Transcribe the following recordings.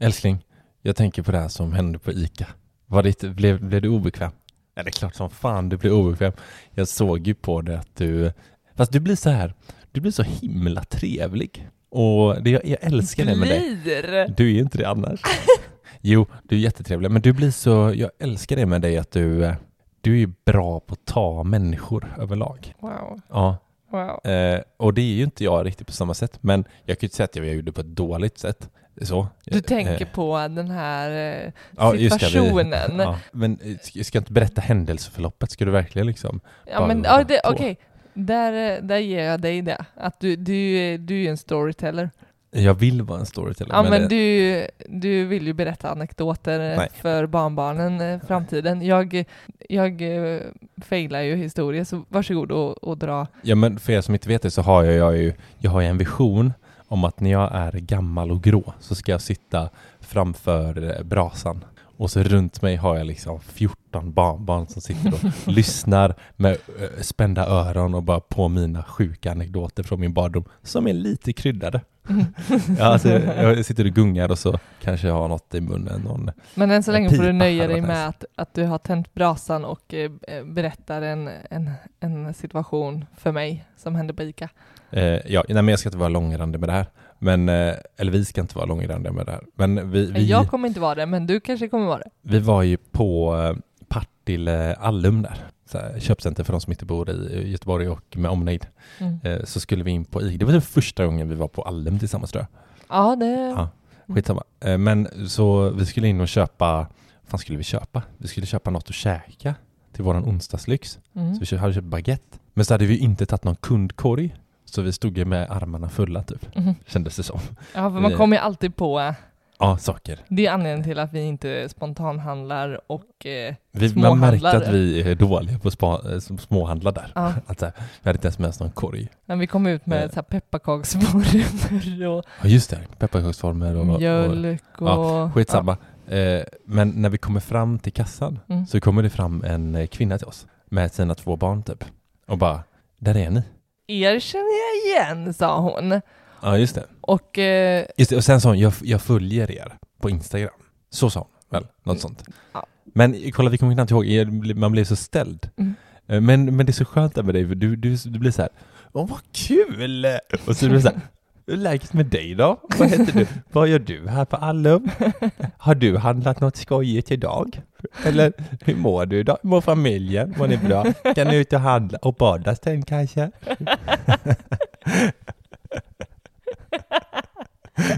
Älskling, jag tänker på det här som hände på ICA. Var det, blev, blev du obekväm? Mm. Ja, det är klart som fan du blev obekväm. Jag såg ju på det att du... Fast du blir så här, du blir så himla trevlig. Och det, jag, jag älskar det med dig. Blir! Du är ju inte det annars. Jo, du är jättetrevlig, men du blir så... Jag älskar det med dig att du... eh, Du är ju bra på att ta människor överlag. Wow, Ja. wow. Eh, och det är ju inte jag riktigt på samma sätt, men jag kan ju inte säga att jag gjorde det på ett dåligt sätt. Så. Du Eh, tänker eh, på den här eh, ja, just det, vi- situationen. Ja, Ja, men eh, ska- ska jag inte berätta händelseförloppet? Ska du verkligen liksom? men bara ja, det- på. okej. Där, eh, där ger jag dig det. Att du, du, eh, du är ju en storyteller. Jag vill vara en storyteller. Ja, men eh, du, du vill ju berätta anekdoter eh, Nej. för barnbarnen eh, framtiden. Jag, jag eh, failar ju historia, så varsågod och, och dra. ja, men för er som inte vet det så har jag, jag, ju, jag har ju en vision om att när jag är gammal och grå så ska jag sitta framför eh, brasan. Och så runt mig har jag liksom 14 barnbarn som sitter och lyssnar med eh, spända öron och bara på mina sjuka anekdoter från min barndom som är lite kryddade. Mm. ja, alltså, jag sitter och gungar och så kanske jag har något i munnen, någon Men än så En länge får du pipa nöja hade dig varit nice. med att, att du har tänt brasan och eh, eh, berättar en, en, en situation för mig som hände på ICA. Eh, ja, nej, men jag ska inte vara långrandig med det här. Men, eh, eller vi ska inte vara långrandiga med det här. Men vi, vi, Jag kommer inte vara det, men du kanske kommer vara det. vi var ju på eh, Partille Allum där. Så här, köpcenter för de som inte bor i Göteborg och med omnejd. Mm. Eh, så skulle vi in på IG. Det var den första gången vi var på Allum tillsammans tror jag. Ja, det... Ja. Mm. Skitsamma. Eh, men så vi skulle in och köpa, vad fan skulle vi köpa? Vi skulle köpa något att käka till våran onsdagslyx. Mm. Så vi kö- hade köpt baguette. Men så hade vi ju inte tagit någon kundkorg. Så vi stod ju med armarna fulla typ, Mhm. kändes det som. ja, för man kommer ju alltid på... eh, Ja, saker. Det är anledningen till att vi inte spontanhandlar och... Eh, Vi, man märkte Småhandlare. att vi är dåliga på spa, eh, som småhandlar där. ja, Att så här, vi hade inte ens med oss någon korg. när vi kom ut med Eh. så här pepparkaksformer och Ja just det, pepparkaksformer och, och mjölk och... ja, skitsamma. Eh, men när vi kommer fram till kassan Mm. så kommer det fram en eh, kvinna till oss med sina två barn typ. Och bara, där är ni. Er känner jag igen, sa hon. Ja just det. Och eh, Just det. Och sen sa hon, jag, jag följer er på Instagram. Så sa hon väl, något sånt. Mm. Ja. Men kolla, vi kommer knappt ihåg, er- man blev så ställd. Mm. Eh, Men, men det är så skönt där med dig, för du, du, du blir så här, åh vad kul! Och så blir det så här, hur är läget med dig då? Vad heter du? Vad gör du här på Allum? Har du handlat något skojigt idag? Eller hur mår du idag? Hur mår familjen? Mår ni bra? Kan ni ut och handla och bada sen kanske?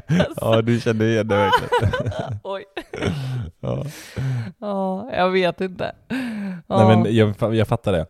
Alltså. Ja, du kände igen det verkligen. oj, Ja. ja, jag vet inte. Ja. Nej, men jag, fa- jag fattar det.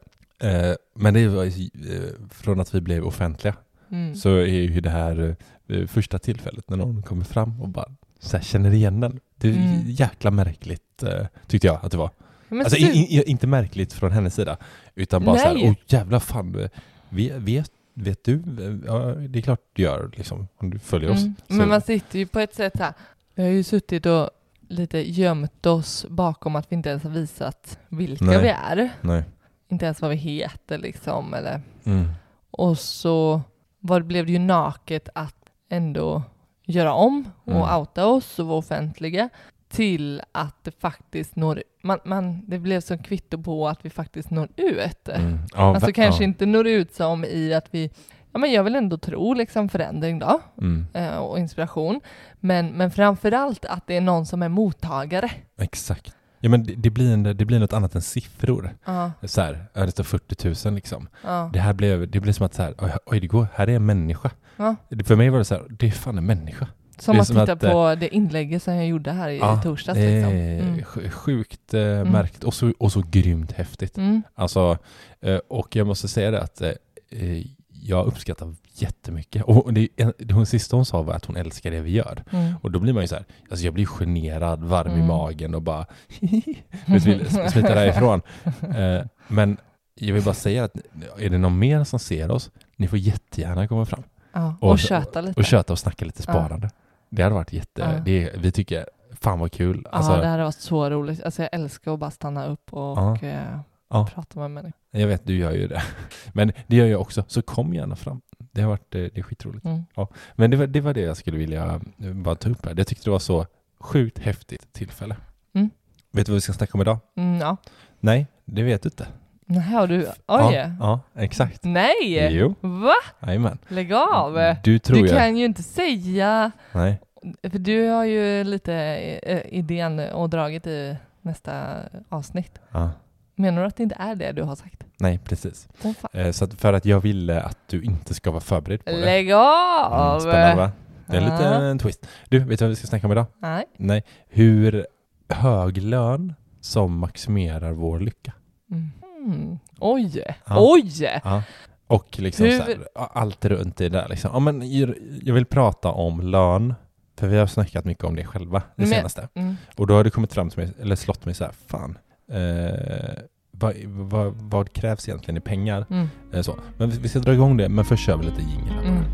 Eh, Men det var ju, eh, från att vi blev offentliga mm. så är ju det här eh, första tillfället när någon kommer fram och bara så här, känner igen den. Det är ju Mm. jäkla märkligt eh, tyckte jag att det var. men Alltså su- i- i- inte märkligt från hennes sida utan bara så här, Nej. åh jävla fan, eh, vet, vet vet du? Ja, det är klart du gör liksom, om du följer oss. Mm. Så- Men man sitter ju på ett sätt här. Vi har ju suttit och lite gömt oss bakom att vi inte ens har visat vilka Nej. vi är. Nej. Inte ens vad vi heter liksom. Eller. Mm. Och så var, blev det ju naket att ändå göra om och Mm. outa oss och vara offentliga till att det faktiskt når man, man, Det blev som kvitto på att vi faktiskt når ut. Mm. Ja, Alltså va- kanske ja. inte når ut som i att vi, ja men jag vill ändå tro liksom förändring då Mm. eh, och inspiration. Men, men framförallt att det är någon som är mottagare. Exakt. Ja, men det, det, blir en, det blir något annat än siffror. Ja, Så här, ja, det står 40 000 liksom. ja, Det här blev, det blev som att så här, oj, oj det går, här är en människa. ja. Det- För mig var det så här, det är fan en människa. Som är att som titta att, eh, på det inlägget som jag gjorde här i i torsdags. det Liksom. är Mm. sj- sjukt eh, märkligt och så, och så grymt häftigt. Mm. Alltså, eh, och jag måste säga det att eh, eh, jag uppskattar jättemycket. Och det, en- det hon sista hon sa var att hon älskar det vi gör. Mm. Och då blir man ju så här, alltså jag blir generad, varm i Mm. magen och bara vet, vill sm- smita därifrån. Eh, men jag vill bara säga att är det någon mer som ser oss, ni får jättegärna komma fram Ja, Och- och köta lite. och köta och snacka lite Ja. sparande. Det hade varit jätte, Ja. det, vi tycker, fan vad kul. Alltså, ja, det här var så roligt. Alltså jag älskar att bara stanna upp och Ja. eh, Ja. prata med människor. Jag vet, du gör ju det. Men det gör jag också, så kom gärna fram. Det har varit eh, det är skitroligt. Mm. Men det var, det var det jag skulle vilja eh, bara ta upp här. Jag tyckte det var så sjukt häftigt tillfälle. Mm. Vet du vad vi ska snacka om idag? Mm, ja. Nej, det vet du inte. Nähä, och du, oj! Ja, ja exakt. Nej! Jo, Va? jajamän. Lägg av! Mm, Du tror Du jag. kan ju inte säga, Nej. för du har ju lite eh, idén och draget i nästa avsnitt. Ja. Menar du att det inte är det du har sagt? Nej, precis. Åh, fan. Eh, Så att för att jag ville att du inte ska vara förberedd på det. Lägg av! Mm, spännande va? Det är en Ja. liten twist. Du, vet du vad vi ska snacka om idag? Nej. Nej, hur hög lön som maximerar vår lycka. Mm. Oj! Ja. Oj! Ja. Och liksom Hur- så här, ja, allt runt det där. Liksom. Ja, men ju- jag vill prata om lön, för vi har snackat mycket om det själva det Men- senaste. Mm. Och då har det kommit fram till mig, eller slått mig så här, fan, eh, vad, vad, vad krävs egentligen i pengar? Mm. Eh, så. Men vi, vi ska dra igång det, men först kör vi lite jingel. här. Mm.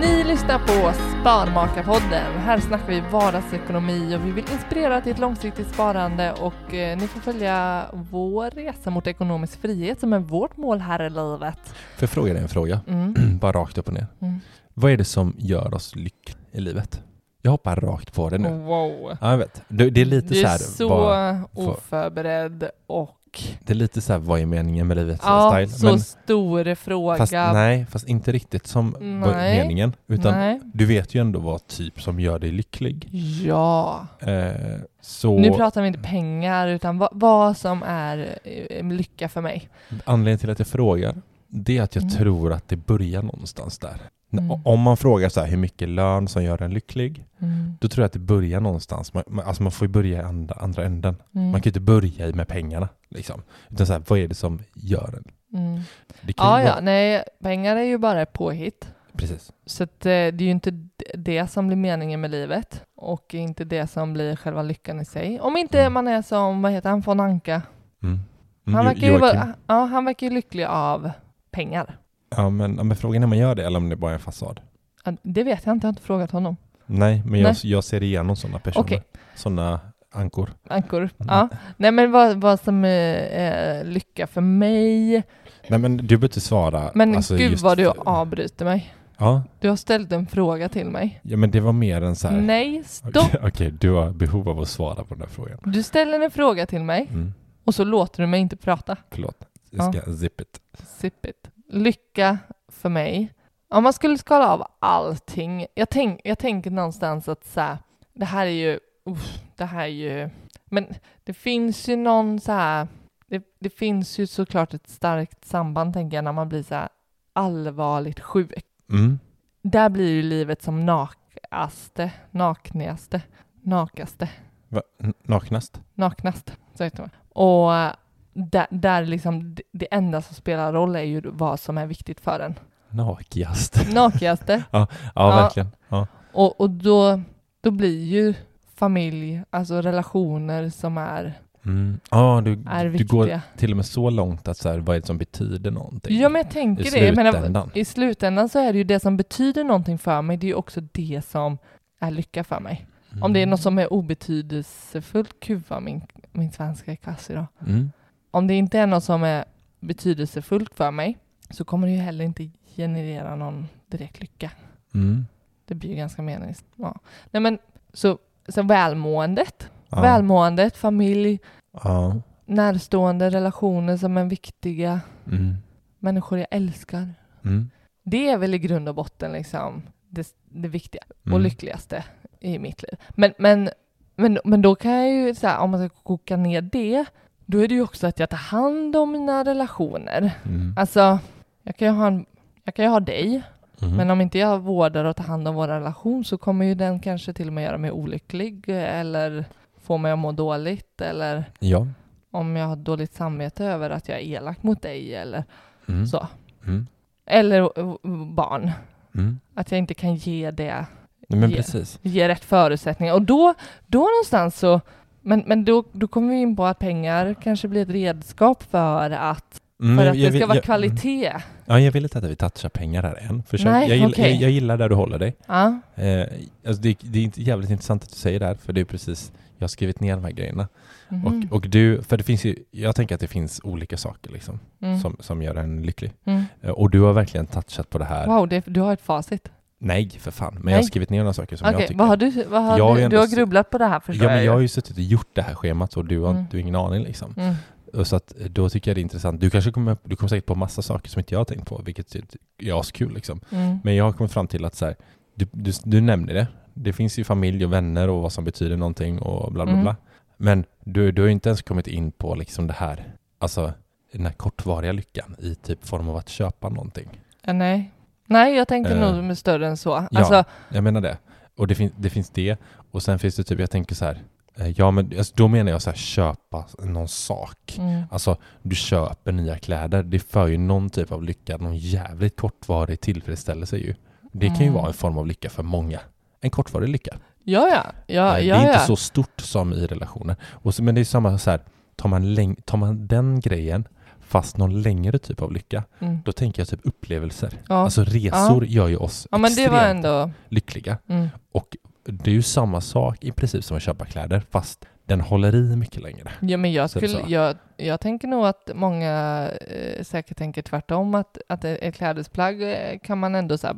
Ni lyssnar på Sparmakarpodden. Här snackar vi vardagsekonomi och vi vill inspirera till ett långsiktigt sparande och eh, ni får följa vår resa mot ekonomisk frihet som är vårt mål här i livet. För fråga dig en fråga, Mm. bara rakt upp och ner. Mm. Vad är det som gör oss lyckliga i livet? Jag hoppar rakt på det nu. Wow. Ja, jag vet. Det, det är lite Du så Mm. är här, så vad, oförberedd och det är lite så här, vad är meningen med livet? ja, style. så stor fråga. fast, nej, fast inte riktigt som vad är Nej. meningen. Utan Nej. du vet ju ändå vad typ som gör dig lycklig. Ja, Eh, så nu pratar vi inte pengar utan vad, vad som är eh, lycka för mig. anledningen till att jag frågar, det är att jag Mm. tror att det börjar någonstans där. N- Mm. Om man frågar så här, hur mycket lön som gör en lycklig, Mm. då tror jag att det börjar någonstans. Man, man, alltså man får ju börja i andra, andra änden. Mm. Man kan ju inte börja med pengarna. Liksom. Utan så här, vad är det som gör en? Mm. Det kan Ja, ju ja, vara- nej, pengar är ju bara ett påhitt. Precis. Så att, eh, det är ju inte d- det som blir meningen med livet och inte det som blir själva lyckan i sig. Om inte Mm. man är som, vad heter han, von Anka. Mm. Mm, Han Jo- verkar ju, Joakim. vara, ja, han verkar ju lycklig av pengar. Ja men, ja, men frågan är om man gör det eller om det bara är en fasad. Ja, Det vet jag inte, jag har inte frågat honom. Nej, men jag, Nej. jag ser igenom sådana personer. Okej. Sådana ankor. Ankor. Ja. Nej men vad, vad som är eh, lycka för mig. Nej men du behöver inte svara. Men alltså, gud just- vad du avbryter mig. Ja, Du har ställt en fråga till mig. ja, men det var mer än så här. Nej, stopp. Okej, okej, du har behov av att svara på den här frågan. Du ställer en fråga till mig Mm, och så låter du mig inte prata. förlåt, jag ska zip it. Sip it. Lycka för mig. Om man skulle skala av allting. Jag, tänk, jag tänker någonstans att så här, det här är ju, uff, det här är ju, men det finns ju någon så här, det, det finns ju såklart ett starkt samband tänker jag när man blir så här allvarligt sjuk. Mm. Där blir ju livet som nakaste, naknigaste, nakaste. Va? N- Naknast? naknast. Så heter det. Och eh, där, där liksom d- det enda som spelar roll är ju vad som är viktigt för en. Nakigast. Nakigaste. Ja, Ja. verkligen. Ja. Och, och då, då blir ju familj, alltså relationer som är, Mm. ja du, är du går viktiga. till och med så långt att så här, vad är det som betyder någonting? Ja men jag tänker I det. Jag menar, slutändan. I slutändan så är det ju det som betyder någonting för mig, det är ju också det som är lycka för mig. Om Mm. det är något som är obetydelsefullt, gud vad min, min svenska är kass idag. Mm. om det inte är något som är betydelsefullt för mig så kommer det ju heller inte generera någon direkt lycka. Mm. Det blir ju ganska meningslöst. Ja. Nej men, så, så välmåendet. Ja. Välmåendet, familj, Ja. närstående, relationer som är viktiga, Mm. människor jag älskar. Mm. Det är väl i grund och botten liksom det, det viktiga och Mm. lyckligaste i mitt liv. Men, men, men, men då kan jag ju, så här, om man ska koka ner det, då är det ju också att jag tar hand om mina relationer. Mm. Alltså, jag kan ju ha, en, jag kan ju ha dig, Mm. men om inte jag vårdar och tar hand om vår relation så kommer ju den kanske till och med göra mig olycklig eller få mig att må dåligt eller Ja. om jag har dåligt samvete över att jag är elak mot dig eller Mm. så. Mm. Eller eh, barn, Mm. att jag inte kan ge det, Nej, men Ja. precis. ge rätt förutsättningar. Och då, då någonstans så, men, men då, då kommer vi in på att pengar kanske blir ett redskap för att, Mm, för jag- att jag det ska vill- vara jag- kvalitet. Ja, jag vill inte att vi touchar pengar här än. Försök. Nej, jag, gill, okej. jag, jag gillar där du håller dig. Ja. Eh, alltså det, det är inte jävligt intressant att du säger det här, för det är precis, jag har skrivit ner de här grejerna. Mhm. Och, och du, för det finns ju, jag tänker att det finns olika saker liksom, Mm. som, som gör en lycklig. Mm. Eh, Och du har verkligen touchat på det här. Wow, det, du har ett facit. Nej, för fan. Men jag Nej. har skrivit ner några saker som Okej, jag tycker. vad har du? Vad har Jag har du, ju du har ändå- grubblat på det här förstår ja, men jag har jag. ju suttit och gjort det här schemat och du har, Mm. du har ingen aning liksom. ju. Mm. Och så att eh, då tycker jag det är intressant. Du kanske kommer, du kommer säkert på massa saker som inte jag har tänkt på, vilket är är askul liksom. Mm. Men jag har kommit fram till att så här, du, du, du nämnde det. Det finns ju familj och vänner och vad som betyder någonting och bla bla Mm. bla. Men du, du har ju inte ens kommit in på liksom det här, alltså den här kortvariga lyckan i typ form av att köpa någonting. Ja, nej. nej, jag tänkte Eh, nog med större än så. ja. Alltså, Jag menar det. Och det, fin, det finns det. Och sen finns det typ, jag tänker så här, eh, ja men alltså, då menar jag så här köpa någon sak. mm, Alltså du köper nya kläder, det för ju någon typ av lycka, någon jävligt kortvarig tillfredsställelse ju. Det kan ju Mm. vara en form av lycka för många. En kortvarig lycka. ja, ja. ja, Nej, ja, det är ja. inte så stort som i relationer. Och så, men det är samma så här, tar man, läng- tar man den grejen fast någon längre typ av lycka, Mm. då tänker jag typ upplevelser. Ja. Alltså resor gör ju oss ja, men det extremt var ändå... lyckliga. Mm, Och det är ju samma sak i princip som att köpa kläder fast den håller i mycket längre. ja, men jag, Så- skulle, så. jag, jag tänker nog att många eh, säkert tänker tvärtom, att, att ett klädesplagg eh, kan man ändå så här,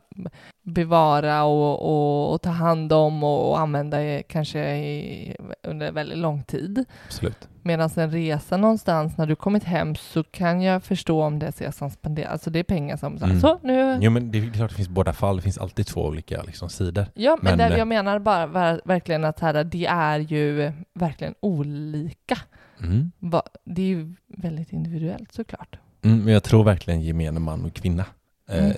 bevara och, och, och ta hand om och, och använda i, kanske i, under väldigt lång tid. Absolut. Medan en resa någonstans, när du kommit hem så kan jag förstå om det ses som spenderat. Alltså det är pengar som så, här, Mm. så nu... Jo men det är klart det finns båda fall, det finns alltid två olika liksom, sidor. Ja, men, men, det, eh, jag menar bara ver, verkligen att här, det är ju verkligen olika. Mm. Va, det är ju väldigt individuellt såklart. Mm, men jag tror verkligen gemene man och kvinna eh, Mm.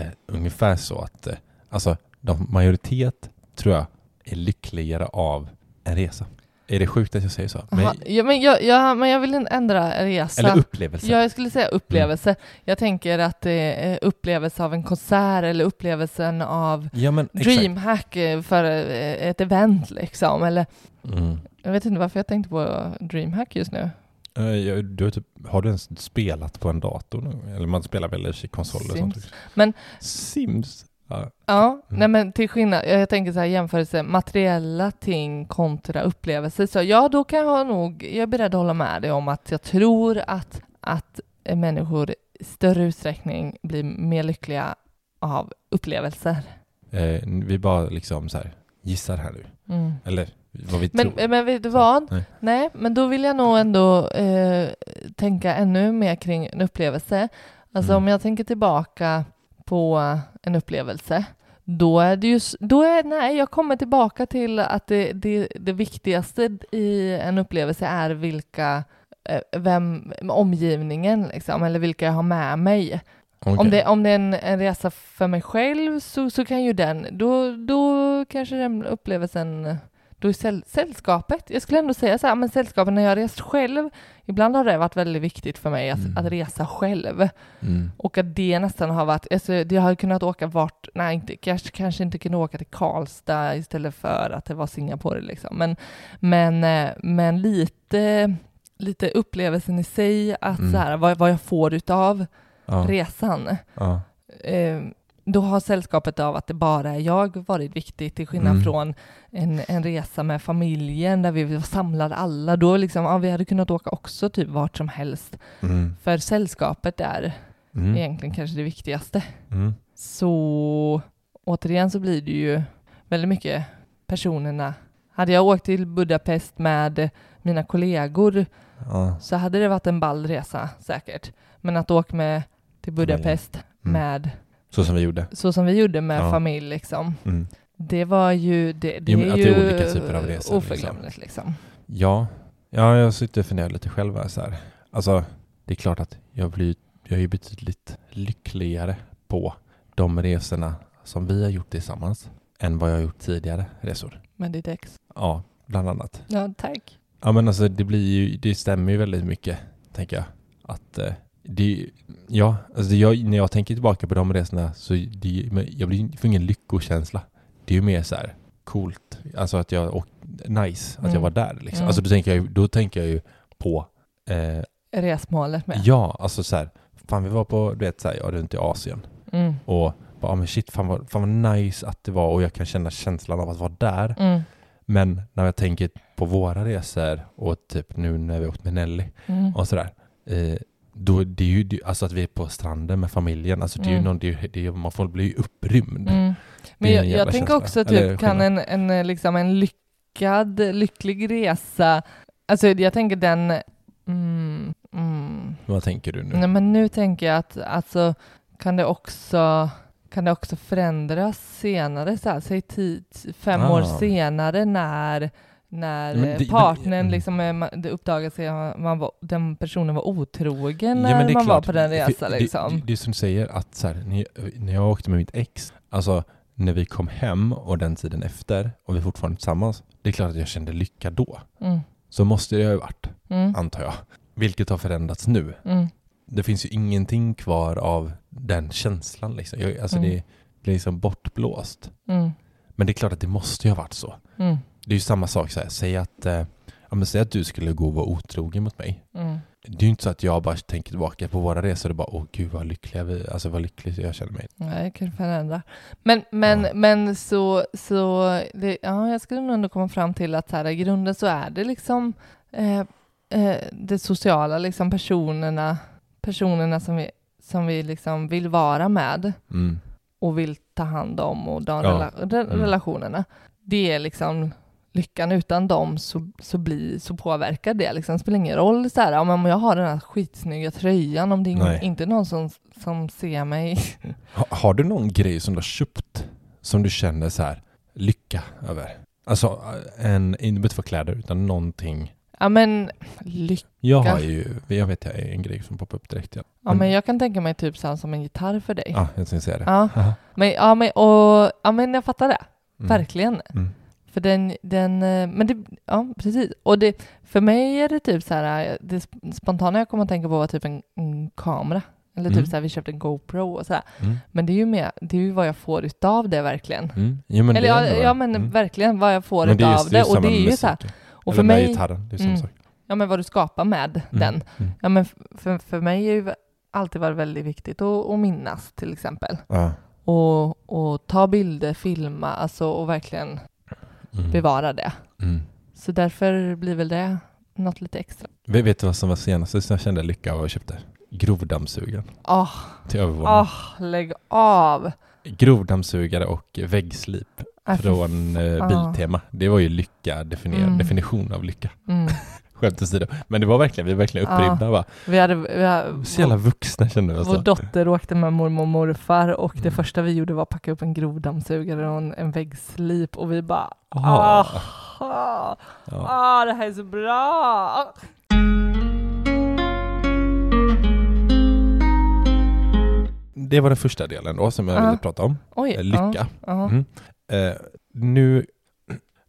är ungefär så att eh, alltså, de majoritet tror jag är lyckligare av en resa. Är det sjukt att jag säger så? Men, Aha, ja, men, jag, jag, men jag vill inte ändra resa. eller Mm. upplevelse. Ja, jag skulle säga upplevelse. Jag tänker att eh, upplevelse av en konsert eller upplevelsen av ja, men, exakt. Dreamhack eh, för eh, ett event liksom. Eller Mm. Jag vet inte varför jag tänkte på DreamHack just nu. Eh, jag- Du, har typ, har du ens spelat på en dator någon gång? Eller man spelar väl i och för sig konsoler och sånt Sims. också. Men- Sims? Ja. Ja, Mm. nej men till skillnad, jag jag tänker så här jämförelse materiella ting kontra upplevelser. Så ja, då kan jag nog, jag är beredd att hålla med dig om att jag tror att, att eh, människor i större utsträckning blir mer lyckliga av upplevelser. Eh, vi bara liksom så här gissar här nu. Mm. Eller vad vi Men, tror. men vet du vad? Nej. Nej, men då vill jag nog ändå eh, tänka ännu mer kring en upplevelse. Alltså Mm. om jag tänker tillbaka på en upplevelse, då är det ju... s- Då är, nej, jag kommer tillbaka till att det, det, det viktigaste i en upplevelse är vilka eh, vem, omgivningen liksom, eller vilka jag har med mig. Okej. Om det, om det är en, en resa för mig själv så, så kan ju den, då, då kanske den upplevelsen, då är säll- sällskapet, jag skulle ändå säga så här, men sällskapet när jag har rest själv, ibland har det varit väldigt viktigt för mig att, Mm. att resa själv. Mm. Och att det nästan har varit, alltså, jag har kunnat åka vart, nej inte, kanske, kanske inte kunde åka till Karlstad istället för att det var Singapore liksom. Men, men, eh, men lite, lite upplevelsen i sig, att Mm. så här, vad, vad jag får utav Ja. resan. Ja. Eh, då har sällskapet av att det bara är jag varit viktigt, till skillnad Mm. från en, en resa med familjen där vi var samlade alla. Då liksom, ja, vi hade kunnat åka också typ vart som helst. Mm. För sällskapet är Mm. egentligen kanske det viktigaste. Mm. Så återigen så blir det ju väldigt mycket personerna. Hade jag åkt till Budapest med mina kollegor Ja. så hade det varit en ball resa säkert. Men att åka med till Budapest Mm. med, Så som vi gjorde. så som vi gjorde med Ja. familj liksom. Mm. Det var ju, det, det Jo, men är att ju det är olika typer av resor, oförglömligt liksom. Ja. ja, jag sitter och funderar lite själv här så här. Alltså, det är klart att jag blir jag är ju betydligt lyckligare på de resorna som vi har gjort tillsammans än vad jag har gjort tidigare resor. Men ditt ex. Ja, bland annat. Ja, tack. Ja men alltså det blir ju, det stämmer ju väldigt mycket, tänker jag. Att eh, det, ja, alltså jag, när jag tänker tillbaka på de resorna så det, men jag blir, jag får ingen lyckokänsla. Det är ju mer så här coolt, alltså att jag, och nice, att jag Mm. var där liksom. Mm. Alltså då tänker jag ju, då tänker jag ju på, eh, Resmålet med. ja, alltså så här, fan vi var på, du vet så här, ja runt i Asien. Mm. Och bara, ja men shit, fan vad, fan vad nice att det var och jag kan känna känslan av att vara där. Mm. Men när jag tänker på våra resor och typ nu när vi åkt med Nelly Mm. och sådär. Eh, då det är ju det- alltså att vi är på stranden med familjen. Alltså det är ju Mm. någon, det är, ju- det är, man får bli ju upprymd. Mm. Det är Men jag, en jag jävla tänker känsla. också Eller typ, kan en, en, eh, liksom en lyckad, lycklig resa, alltså jag tänker den, mm, mm. Vad tänker du nu? Nej, men nu tänker jag att alltså, kan det också kan det också förändras senare, så här, säg tid, fem Ah. år senare när, när Men mm. eh, det- partnern men- liksom, eh, ma- det uppdagas att man var, den personen var otrogen Ja, när men det är man var klart. på den För resan. det- Liksom. Det, det, är som du säger, att så här, när, när jag åkte med mitt ex, alltså när vi kom hem och den tiden efter och vi fortfarande tillsammans, det är klart att jag kände lycka då. Mm, Så måste det ju ha varit, mm, antar jag. Vilket har förändrats nu. mm, det finns ju ingenting kvar av den känslan. Liksom. Jag, alltså Mm. Det blir liksom bortblåst. mm, Men det är klart att det måste ju ha varit så. mm, Det är ju samma sak, så här. Säg, att, eh, ja, men säg att du skulle gå och vara otrogen mot mig. mm. Det är ju inte så att jag bara tänker tillbaka på våra resor och bara åh gud vad lyckliga vi, alltså vad lycklig jag känner mig. Nej, det kan förändra. Men, men, Ja. men så, så det, ja, jag skulle nog ändå komma fram till att så här, i grunden så är det liksom eh, eh, det sociala, liksom personerna, personerna som vi, som vi liksom vill vara med Mm. och vill ta hand om och de Ja. rela, de, Mm. relationerna. Det är liksom lyckan utan dem så, så, blir, så påverkar det. Liksom. Det spelar ingen roll så här, om om jag har den här skitsnygga tröjan, om det Nej. är inte någon som, som ser mig Ha, har du någon grej som du har köpt som du känner så här lycka över? Alltså en, inte bara för kläder utan någonting. Ja men lycka. Jag Lycka? har ju, jag vet jag en grej som poppar upp direkt. Ja, Ja, men jag kan tänka mig typ så här som en gitarr för dig. Mm. ja jag tänkte säga det. Ja. Haha. Men, ja, men, och, ja men jag fattar det, Mm. verkligen. Mm. För den, den, eh, men det, ja precis. Och det, för mig är det typ så här, eh, det sp- spontana jag kommer att tänka på var typ en, en kamera. Eller typ Mm. så här, vi köpte en GoPro och så här. Mm. Men det är ju mer, det är ju vad jag får utav det verkligen. Mm. Jo, men Eller det ja, är ändå- ja men Mm. verkligen vad jag får Men är utav ju- det. samma Och det med är ju musik, så här, ju. och Eller för med mig, gitarren, det är samma Mm. sak. ja men vad du skapar med den. Mm. Ja, men f- för, för mig har ju alltid varit väldigt viktigt att, att minnas till exempel. Ja. Och, och ta bilder, filma alltså, och verkligen Mm. bevara det. Mm. Så därför blir väl det något lite extra. Vet vet du vad som var senaste som jag kände lycka av och köpte? Grovdammsugaren Åh, till övervåningen. åh, lägg av! Grovdammsugare och väggslip Äh, fy från eh, fan. Biltema. Det var ju lycka, definier- Mm. definition av lycka. Mm. Skämt åsido. Men det var verkligen, vi var verkligen Ja. upprymda. va? Vi hade, vi hade, Så jävla vår, vuxna kände vi oss. Ah. vår då. dotter åkte med mormor och morfar och det Mm. första vi gjorde var att packa upp en grovdammsugare och en, en väggslip och vi bara Ah. ah, Ja. ah, det här är så bra! Det var den första delen då som jag Ah. Ja. ville prata om. Oj, Eh, Lycka. ja, ja. Mm. Eh, nu,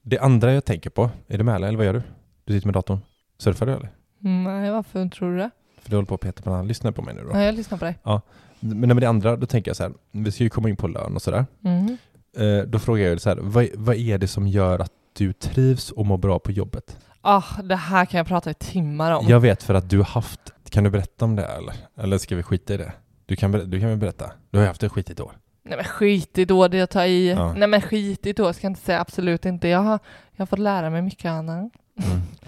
Det andra jag tänker på, är du med eller, eller vad gör du? Du sitter med datorn. Surfar du eller? Mm, Nej, varför tror du det? För du håller på och petar på den här. Lyssna på mig nu då. Nej, jag lyssnar på dig. Men nej, men det andra, då tänker jag så här. Vi ska ju komma in på lön och sådär. Mm. Eh, då frågar jag dig så här. Vad, vad är det som gör att du trivs och mår bra på jobbet? Ah, det här kan jag prata i timmar om. Jag vet för att du har haft... Kan du berätta om det eller? Eller ska vi skita i det? Du kan, ber- du kan väl berätta? Du har ju haft ett skitigt år. Nej men skitigt år, det jag tar i. Ja. Nej men skitigt år ska jag inte säga, absolut inte. Jag har, jag har fått lära mig mycket annat.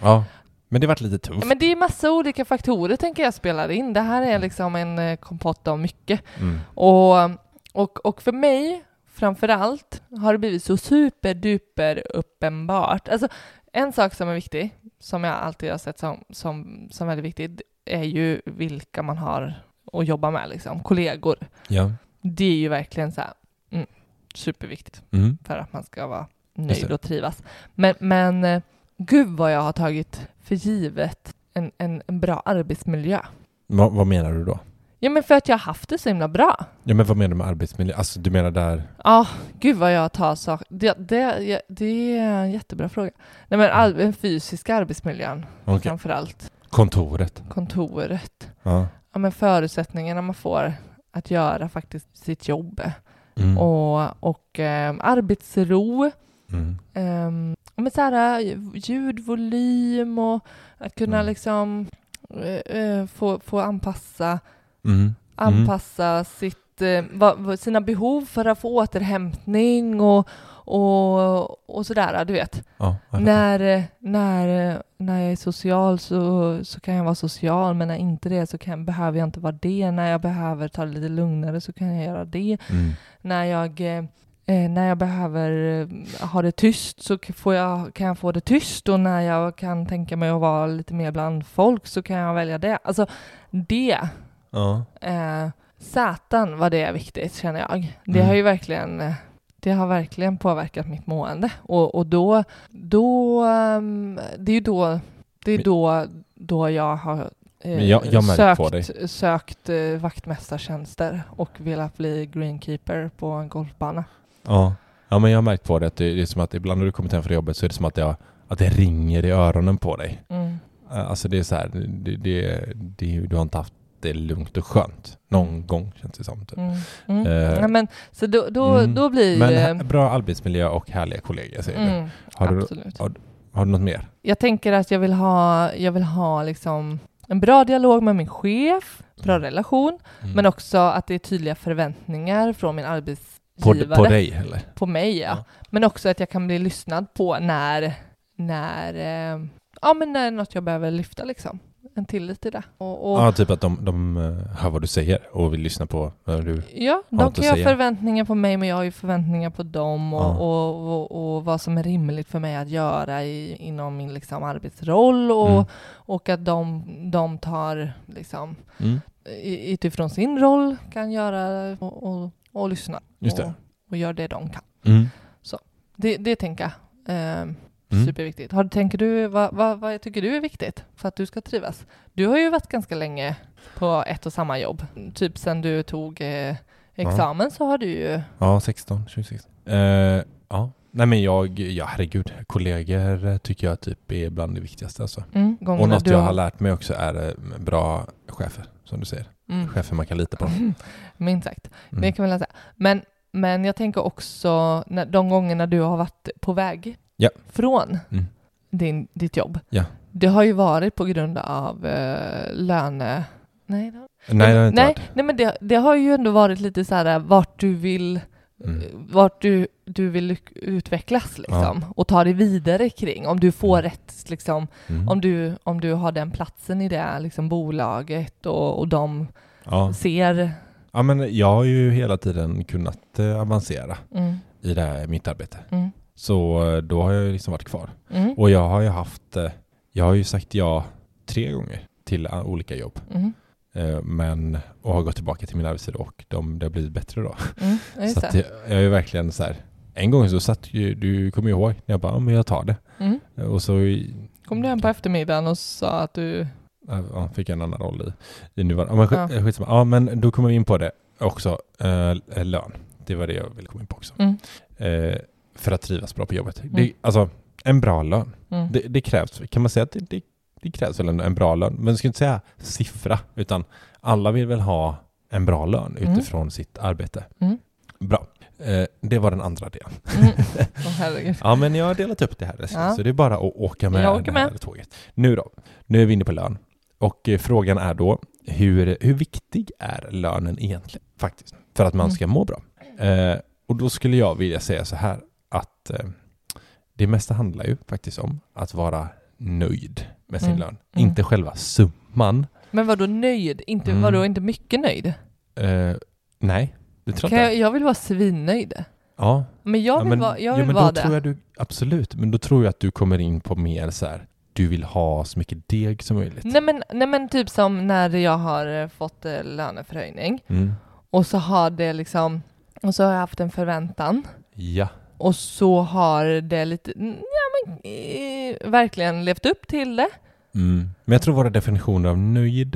Ja. Men det vart lite tufft. Mm. Men det är massa olika faktorer tänker jag spelar in. Det här är liksom en eh, kompott av mycket. Mm. Och, och, och för mig, framförallt, har det blivit så superduper uppenbart. Alltså, en sak som är viktig, som jag alltid har sett som, som, som väldigt viktigt, är ju vilka man har att jobba med, liksom. kollegor. Ja. Det är ju verkligen så här, mm, superviktigt Mm. för att man ska vara Just nöjd det. och trivas. Men, men eh, gud vad jag har tagit för givet en, en, en bra arbetsmiljö. Va, vad menar du då? Ja, men för att jag har haft det så himla bra. Ja, men vad menar du med arbetsmiljö? Alltså du menar där... Ja, gud vad jag tar saker. Det, det, ja, det är en jättebra fråga. Nej, men all, den fysiska arbetsmiljön Okej. framför allt Kontoret. Kontoret. Ja. Ja, men förutsättningarna man får att göra faktiskt sitt jobb. Mm. Och, och ehm, arbetsro. Mm. ehm, ja, men så här, eh, ljudvolym och att kunna Mm. liksom eh, eh, få, få anpassa Mm. Mm. anpassa sitt, eh, vad- vad- sina behov för att få återhämtning och, och, och sådär, du vet. Ja, jag fattar. När, eh, när, eh, när jag är social så, så kan jag vara social, men när inte det så kan, behöver jag inte vara det. När jag behöver ta det lite lugnare så kan jag göra det. Mm. När jag, eh, eh, när jag behöver eh, ha det tyst så k- får jag, kan jag få det tyst och när jag kan tänka mig att vara lite mer bland folk så kan jag välja det. Alltså det Ja. Eh, Satan vad det är viktigt känner jag. Det Mm. har ju verkligen eh, det har verkligen påverkat mitt mående. Och, och då, då, ehm, det är ju då, det är Men- då, då jag har eh, Men jag- jag märker sökt, på dig. sökt eh, vaktmästartjänster och velat bli greenkeeper på en golfbana. Ja. ja, men jag har märkt på det att det det är som att ibland när du kommit hem från jobbet så är det som att, jag, att det ringer i öronen på dig. Mm. Eh, Alltså det är så här, det, det, det, du har inte haft det lugnt och skönt någon gång känns det som. Typ. Mm. Mm. Eh, ja, men, så då, då, mm. då blir Men det... här- bra arbetsmiljö och härliga kollegor säger du. eh, Mm, Har du, absolut. har du något mer? Jag tänker att jag vill ha, jag vill ha liksom en bra dialog med min chef, bra relation, Mm. men också att det är tydliga förväntningar från min på, arbetsgivare på dig eller? på mig. Ja. Ja. Men också att jag kan bli lyssnad på när, när, eh, ja, men när något jag behöver lyfta liksom. En tillit i det. Och, och, Ja, typ att de, de eh, hör vad du säger och vill lyssna på vad du... Ja, Har de inte kan ju ha att säga. förväntningar på mig men jag har ju förväntningar på dem och, Ja. och, och, och vad som är rimligt för mig att göra i, inom min liksom, arbetsroll och, Mm. och att de, de tar liksom, Mm. i, utifrån sin roll kan göra och, och, och lyssna Just Och, det. och gör det de kan. Mm. Det, det tänker jag. ehm, Mm. Superviktigt. Har, tänker du, vad, vad, vad tycker du är viktigt för att du ska trivas? Du har ju varit ganska länge på ett och samma jobb. Typ sen du tog eh, examen så har du ju... Ja, 16, 2016. Eh, ja. Nej men jag, ja herregud, kollegor eh, tycker jag typ är bland det viktigaste alltså. Mm, gångerna Och något du jag har lärt mig också är eh, bra chefer, som du säger. Mm, Chefer man kan lita på. minst sagt. Mm. Det kan man väl säga. Men, men jag tänker också när, de gångerna du har varit på väg Ja. från Mm. din, ditt jobb. Ja. Det har ju varit på grund av eh, löne... Nej, det har- Nej, det har inte nej, varit. nej, men det, det har ju ändå varit lite så här eh, vart du vill, Mm. vart du, du vill lyck- utvecklas liksom, och ta dig vidare kring. Om du får rätt, liksom, Mm. om, du, om du har den platsen i det liksom, bolaget och, och de Ja. ser... ja, men jag har ju hela tiden kunnat eh, avancera Mm, i det här, mitt arbete. mm, Så eh, då har jag ju liksom varit kvar. mm, Och jag har ju haft, eh, jag har ju sagt ja tre gånger till eh, olika jobb. mm, Eh, Men, och har gått tillbaka till min arbetsgivare och de, det har blivit bättre då. mm, ja, just så att det. jag, jag är ju verkligen så här. En gång så satt ju, du kommer ju ihåg, när jag bara, ja, men jag tar det. Mm. Mm. Eh, Och så i- Kom du hem på eftermiddagen och sa att du... ja, fick jag en annan roll i, i nuvarande. Ja, men, Ja. sk- eh, skitsamma. ja men då kommer vi in på det också, eh, lön. Det var det jag ville komma in på också. Mm. Eh, för att trivas bra på jobbet. Mm. Det, alltså, en bra lön. Mm. Det, det krävs, kan man säga att det, det, det krävs väl en, en bra lön? Men jag ska inte säga siffra, utan alla vill väl ha en bra lön Mm. utifrån sitt arbete. Mm. Bra. Eh, det var den andra delen. Mm. Åh, herregud. Ja, men jag har delat upp det här resten, Ja. så det är bara att åka med, Jag åker det här med. tåget. Nu då, nu är vi inne på lön. Och eh, frågan är då, hur, hur viktig är lönen egentligen faktiskt för att man Mm. ska må bra? Eh, och då skulle jag vilja säga så här att eh, det mesta handlar ju faktiskt om att vara nöjd med sin Mm. lön. Mm. Inte själva summan. Men vadå nöjd? Inte, Mm. vadå, inte mycket nöjd? Eh, nej, det tror Kan jag jag, inte. jag vill vara svinnöjd. Ja, Men jag Ja, vill men- vara, jag ja, vill men vara då det. Tror jag du, absolut, men då tror jag att du kommer in på mer så här, du vill ha så mycket deg som möjligt. Nej men, nej men typ som när jag har eh, fått eh, löneförhöjning Mm. och så har det liksom, och så har jag haft en förväntan Ja, och så har det lite, mm, ja men eh, verkligen levt upp till det. mm. men jag tror våra definitioner av nöjd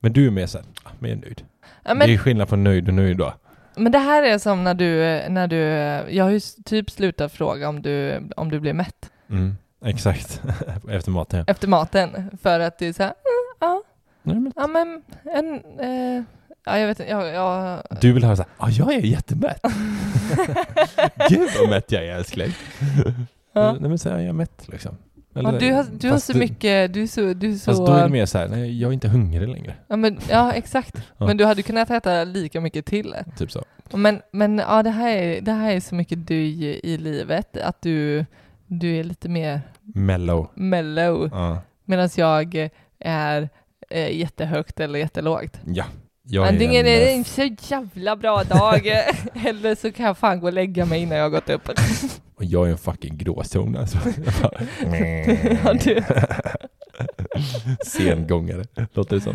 Men du är mer så här, ja men jag är nöjd. Ja, Det är men, skillnad på nöjd och nöjd då. men det här är som när du, eh, när du, eh, jag har ju s- typ slutat fråga om du, om du blir mätt Mm. Exakt, efter maten ja. efter maten för att det är såhär, mm, ja, Nej, men, ja men en, eh, ja jag vet inte, jag, jag du vill höra så här, ja jag är jättemätt. Gud vad mätt jag är älskling. Ja. Nej men så här, jag är mätt liksom. Ja, du har, du har fast så du- mycket, du är så... Du är så Fast då är det mer så här, nej, jag är inte hungrig längre. ja, men, ja, exakt. Ja. Men du hade kunnat äta lika mycket till. Typ så. Men, men ja, det här, är, det här är så mycket du i, i livet, att du, du är lite mer Mellow. mellow, Ja. medan jag är eh, jättehögt eller jättelågt. ja. Jag Antingen är det eh, en så jävla bra dag, eller så kan jag fan gå och lägga mig innan jag har gått upp. och jag är en fucking gråzon alltså. ja, du. Sengångare, låter det som.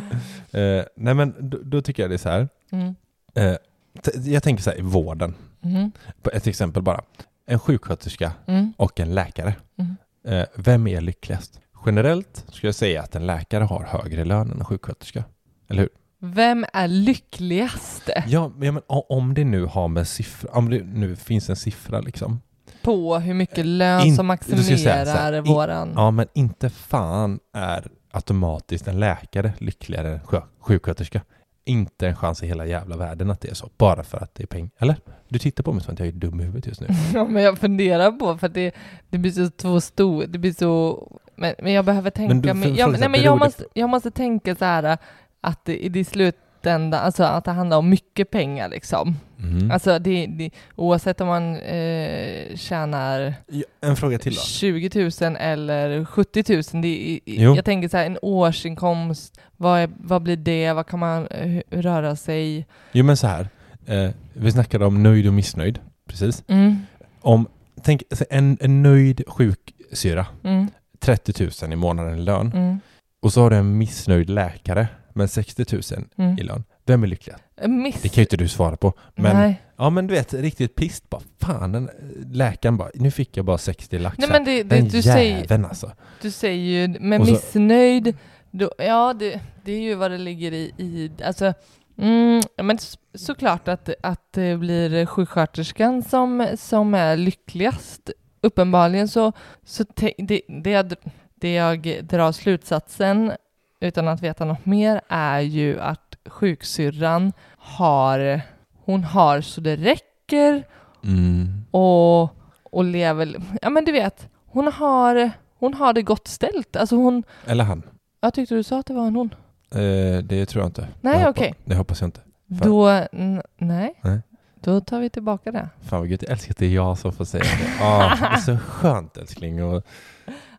Eh, nej men då, då tycker jag det är så här. Mm. Eh, t- jag tänker så här i vården. Mm. På Ett exempel bara. En sjuksköterska Mm. och en läkare. Mm. Eh, vem är lyckligast? Generellt skulle jag säga att en läkare har högre lön än en sjuksköterska. Eller hur? Vem är lyckligast Ja, men, ja, men o- om det nu har med siffra, om det nu finns en siffra liksom. på hur mycket lön In- som då ska jag säga så här, maximerar in- våran... Ja, men inte fan är automatiskt en läkare lyckligare än en sjö- sjuksköterska. Inte en chans i hela jävla världen att det är så, bara för att det är pengar. Eller? Du tittar på mig som att jag är dum i huvudet just nu. Ja, men jag funderar på för att det, det blir så två stor, det blir så... Men, men jag behöver tänka... Men du- men för- jag, fråga så nej, här, men beror jag, det måste, jag måste tänka så här att det, i det slutändan, alltså att det handlar om mycket pengar liksom. Mm. Alltså det, det, oavsett om man eh, tjänar Ja, en fråga till då. 20 000 eller 70 000, det, är- Jo. jag tänker så här en årsinkomst, vad, är, vad blir det, vad kan man eh, röra sig? Jo, men så här. Eh, vi snackade om nöjd och missnöjd. Precis. Mm, Om, tänk alltså, en, en nöjd sjuksyra, mm, 30 000 i månaden i lön. mm, Och så har du en missnöjd läkare med 60 000 mm. i lön. Vem är lyckligast? Miss... Det kan ju inte du svara på. Men, Nej. ja, men du vet, riktigt pist bara. Fan, den, eh, läkaren bara, nu fick jag bara 60 lax. Nej här. men det, det, den du, jäveln säger, alltså. du säger ju med Och så- missnöjd, då, ja det, det är ju vad det ligger i, i alltså mm, ja, men s- såklart att, att det blir sjuksköterskan som, som är lyckligast. Uppenbarligen så, så te, det, det, jag, det jag drar slutsatsen utan att veta något mer, är ju att sjuksyrran har, hon har så det räcker Mm. och, och lever, ja men du vet, hon har, hon har det gott ställt. Alltså hon, Eller han. jag tyckte du sa att det var en hon. Eh, det tror jag inte. Nej, Jag hoppa- okej. Det hoppas jag inte. Fan. Då, n- nej. Nej. Då tar vi tillbaka det. Fan vad gött. Jag älskar att det är jag som får säga det. Ah, det är så skönt älskling att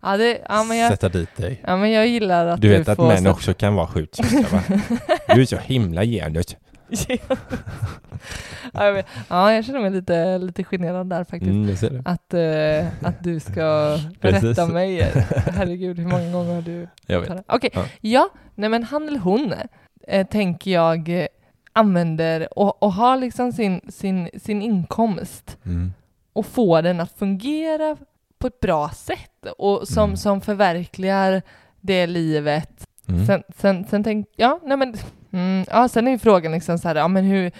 Ja, det, ja, men, jag, sätta dit dig. ja men jag gillar att Du du, vet att får män sätta- också kan vara sjukt känsliga, va? Du är så himla genus. ja, jag vet. ja, jag känner mig lite, lite generad där faktiskt. Mm, jag ser det. Att, eh, att du ska Precis. rätta mig. Herregud, hur många gånger har du Jag vet. Okej, ja. Ja. nej men han eller hon eh, tänker jag eh, använder och, och har liksom sin, sin, sin inkomst Mm. och får den att fungera på ett bra sätt och som, Mm. som förverkligar det livet. Mm. Sen, sen, sen tänk, ja, nej men, mm, ja, sen är ju frågan liksom så här, ja, men hur,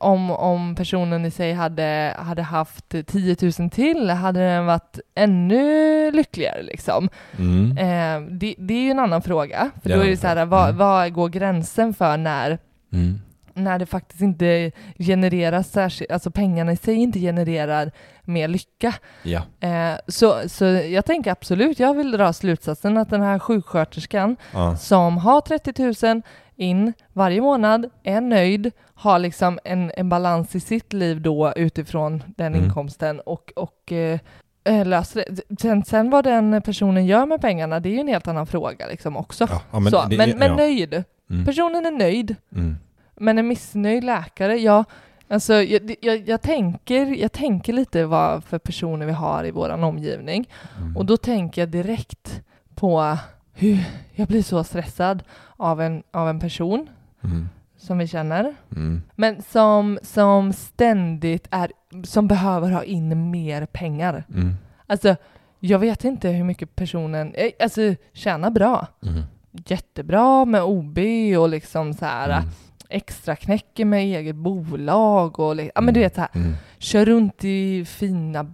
om, om personen i sig hade, hade haft 10 000 till, hade den varit ännu lyckligare liksom? Mm. Eh, det, det är ju en annan fråga. För Det är då är en det annan så här, fråga. vad, Mm. vad går gränsen för när, Mm. när det faktiskt inte genereras särskilt, alltså pengarna i sig inte genererar mer lycka. Ja. Eh, så, så jag tänker absolut, jag vill dra slutsatsen att den här sjuksköterskan Ja. som har 30 000 in varje månad, är nöjd, har liksom en, en balans i sitt liv då utifrån den Mm. inkomsten och, och eh, eh, löser det. Sen, sen vad den personen gör med pengarna, det är ju en helt annan fråga liksom också. Ja, ja, men Så, det- men, men ja. nöjd. Mm. Personen är nöjd, Mm. men en missnöjd läkare, ja, alltså jag, det- jag, jag, tänker, jag tänker lite vad för personer vi har i vår omgivning. Mm. Och då tänker jag direkt på hur jag blir så stressad av en, av en person Mm. som vi känner, Mm. men som, som ständigt är, som behöver ha in mer pengar. Mm. Alltså, jag vet inte hur mycket personen, eh, alltså tjänar bra, Mm. jättebra med OB och liksom så här Mm. extra knäcker med eget bolag och li- ja men du vet så här, Mm. kör runt i fina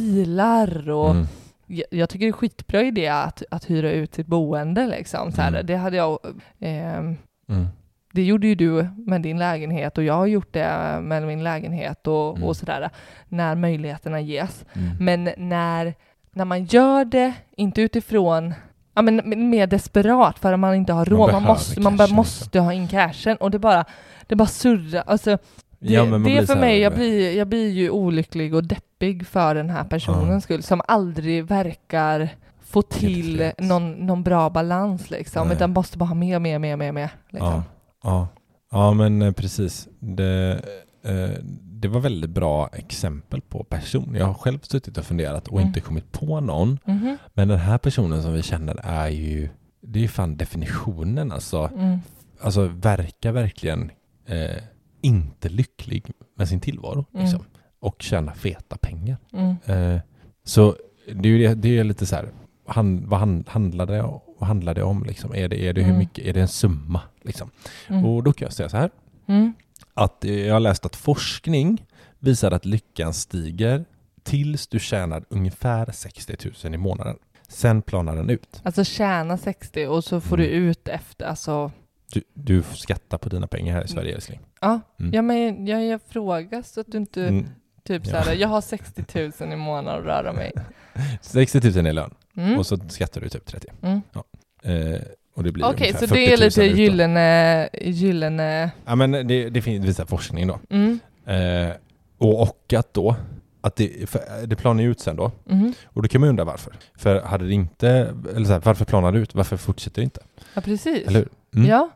bilar och Mm. jag, jag tycker det är skitbra idé att, att hyra ut sitt boende. Liksom. Så här, Mm. Det hade jag... ehm, Mm. det gjorde ju du med din lägenhet och jag har gjort det med min lägenhet och, Mm. och sådär, när möjligheterna ges. Mm. Men när, när man gör det, inte utifrån, ja men men mer desperat för att man inte har Man råd, man, behöver måste, man bara cashen, liksom. måste ha in cashen och det bara, det bara surrar. Alltså, det, Ja, men man det är blir för så här- mig, jag blir, jag blir ju olycklig och deppig för den här personens skull, som aldrig verkar få till tillfreds. någon, någon bra balans liksom, Nej. utan måste bara ha mer, mer, mer, mer, mer. Liksom. Ja, ja. ja men eh, precis. Det, eh, det var väldigt bra exempel på person. Jag har själv suttit och funderat och Mm. inte kommit på någon. Mhm. Men den här personen som vi känner är ju, det är ju fan definitionen alltså. Mm. Alltså verkar verkligen eh, inte lycklig med sin tillvaro. Mm. Liksom. Och tjänar feta pengar. Mm. Eh, så det är, ju det, det är lite så här, han, vad han, handlar, det, vad handlar det om? Liksom? Är, det, är, det hur Mm. mycket, är det en summa? Liksom? Mm. Och då kan jag säga så här, Mm. att eh, jag har läst att forskning visar att lyckan stiger tills du tjänar ungefär 60 000 i månaden. Sen planar den ut. Alltså tjäna 60 och så får Mm. du ut efter, alltså Du, du skattar på dina pengar Mm. här i Sverige älskling. Ja, Mm. ja men jag, jag frågar så att du inte Mm, typ Ja. såhär, jag har 60 000 i månaden att röra mig. 60 000 är lön Mm. och så skattar du typ 30. Mm. Ja. Eh, och det blir Okej, ungefär så 40 000 det är lite ut då. gyllene, gyllene, Ja men det, det finns visar forskning då. mm, Eh, och, och att då, att det, för det planar ju ut sen då. mm. Och då kan man ju undra varför. För hade det inte, eller så här, varför planar det ut? Varför fortsätter det inte? ja precis. Eller hur? Mm. Ja,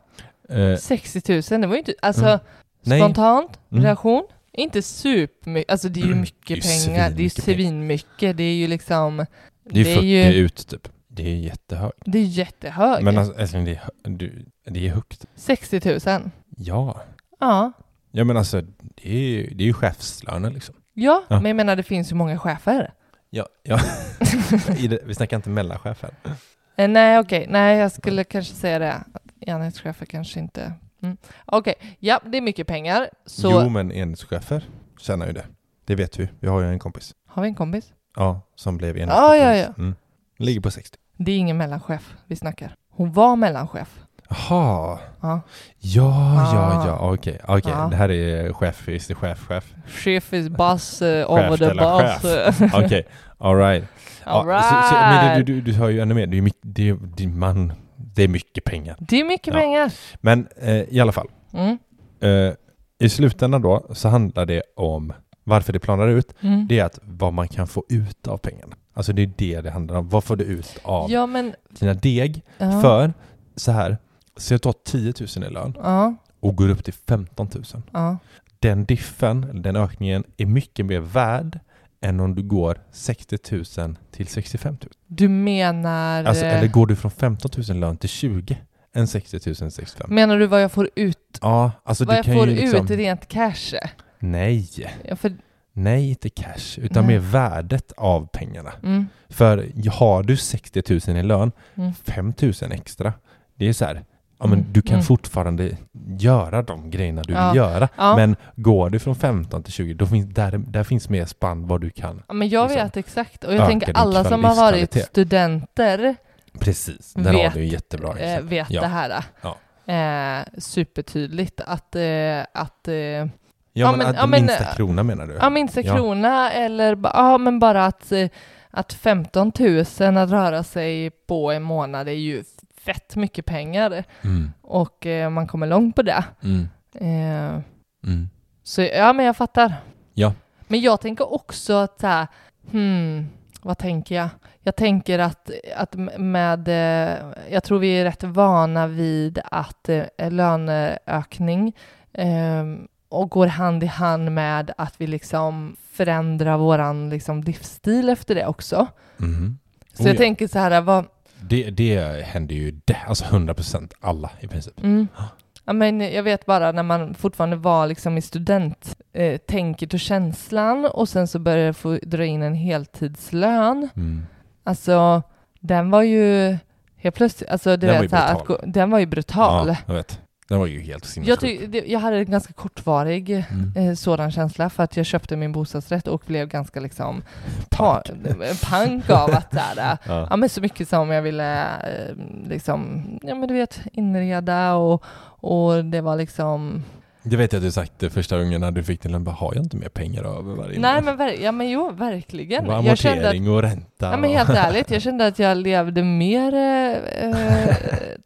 Eh, 60 000, det var ju inte, alltså Mm. Nej. spontant Mm. reaktion, inte supermycket, alltså det är ju mycket Det är ju pengar, det är ju svinmycket pengar. svinmycket, det är ju liksom, det är ju 40 ju, ut typ. Det är jättehögt. det är jättehögt. Men alltså, älskling, det är, hö- du, det är högt. 60 000, Ja. ja. Ja men alltså, det är ju, det är ju chefslöner liksom. Ja, Ja. men jag menar det finns ju många chefer. Ja, ja. I det- vi snackar inte mellanchef här. Eh, nej, okej. Nej, jag skulle kanske säga det. Att Enhetschefer kanske inte... Mm. Okej, ja, det är mycket pengar. Så Jo men enhetschefer tjänar ju det. Det vet vi. Vi har ju en kompis. har vi en kompis. Ja, som blev enhetschef. Ja, ja, ja. Mm. Ligger på 60. Det är ingen mellanchef vi snackar. Hon var mellanchef. Jaha. Ja. Ja, ja, Ah. ja. Okej, okej. Ja. Det här är chef, just det, chef, chef. Chef is boss eh, over Chef the eller boss. Okej, all right. All Ja, så- så- men right. du, du, du hör ju ännu mer. Det är, ju mycket, det, är, det, är man, det är mycket pengar. Det är mycket Ja. pengar. Men eh, i alla fall. Mm. Eh, I slutändan då så handlar det om varför det planar ut. Mm. Det är att vad man kan få ut av pengarna. Alltså det är det det handlar om. Vad får du ut av Ja, men... dina deg? Ja. För så här, så jag tar 10 000 i lön Ja, och går upp till 15 000. ja. Den diffen, eller den ökningen, är mycket mer värd än om du går 60 000 till 65 000. Du menar... Alltså, eh, eller går du från 15 000 lön till 20 än 60 000 till 65 000? Menar du vad jag får ut? Ja, alltså Mm. vad du jag kan får ju liksom... ut rent cash? Nej, Ja, för, nej inte cash, utan Nej. mer värdet av pengarna. mm, För har du 60 000 i lön, Mm. 5 000 extra, det är så här, ja, men Mm, du kan mm. fortfarande göra de grejerna du Ja, vill göra. ja. Men går du från 15 till 20, då finns, där, där finns mer spann vad du kan. ja, men jag Liksom. vet exakt. Och jag Ökar tänker din alla som har varit livskvalitet. studenter Precis, där har Vet, du ju jättebra eh, exempel. vet ja. det här. Ja. Eh, supertydligt att, eh, att eh, Ja, Ja, men, men- att ja, men, minsta eh, krona menar du? Ja, minsta krona eller ba- ja, men bara att, eh, att 15 000 att röra sig på en månad är ju fett mycket pengar Mm, och eh, man kommer långt på det. mm, Eh, mm. så ja, men jag fattar. Ja. Men jag tänker också att så här, hmm, vad tänker jag? Jag tänker att, att med, eh, jag tror vi är rätt vana vid att eh, löneökning eh, och går hand i hand med att vi liksom förändrar våran liksom livsstil efter det också. mhm. Så Oh, jag ja. tänker så här, vad, Det, det händer ju, det, alltså 100% alla i princip. Mm. Ja, men jag vet bara när man fortfarande var liksom i studenttänket och känslan och sen så började jag få dra in en heltidslön. Mm. Alltså den var ju helt plötsligt, alltså du Den var ju vet, så här, att brutal. gå, den var ju brutal. Ja, jag vet. Den var ju helt Jag, sinnessjuk. Mm. ty, det- jag hade en ganska kortvarig eh, sådan känsla för att jag köpte min bostadsrätt och blev ganska liksom pa, pank av att så här, eh, Ja. ja, men så mycket som jag ville eh, liksom, ja men du vet, inreda och, och det var liksom Det vet jag att du sagt det första gången när du fick den, bara har jag inte mer pengar över varje Nej månad? men, ver- ja, men jo, verkligen. Det var Jag kände att, amortering och ränta. ja, men helt ärligt, jag kände att jag levde mer eh, eh,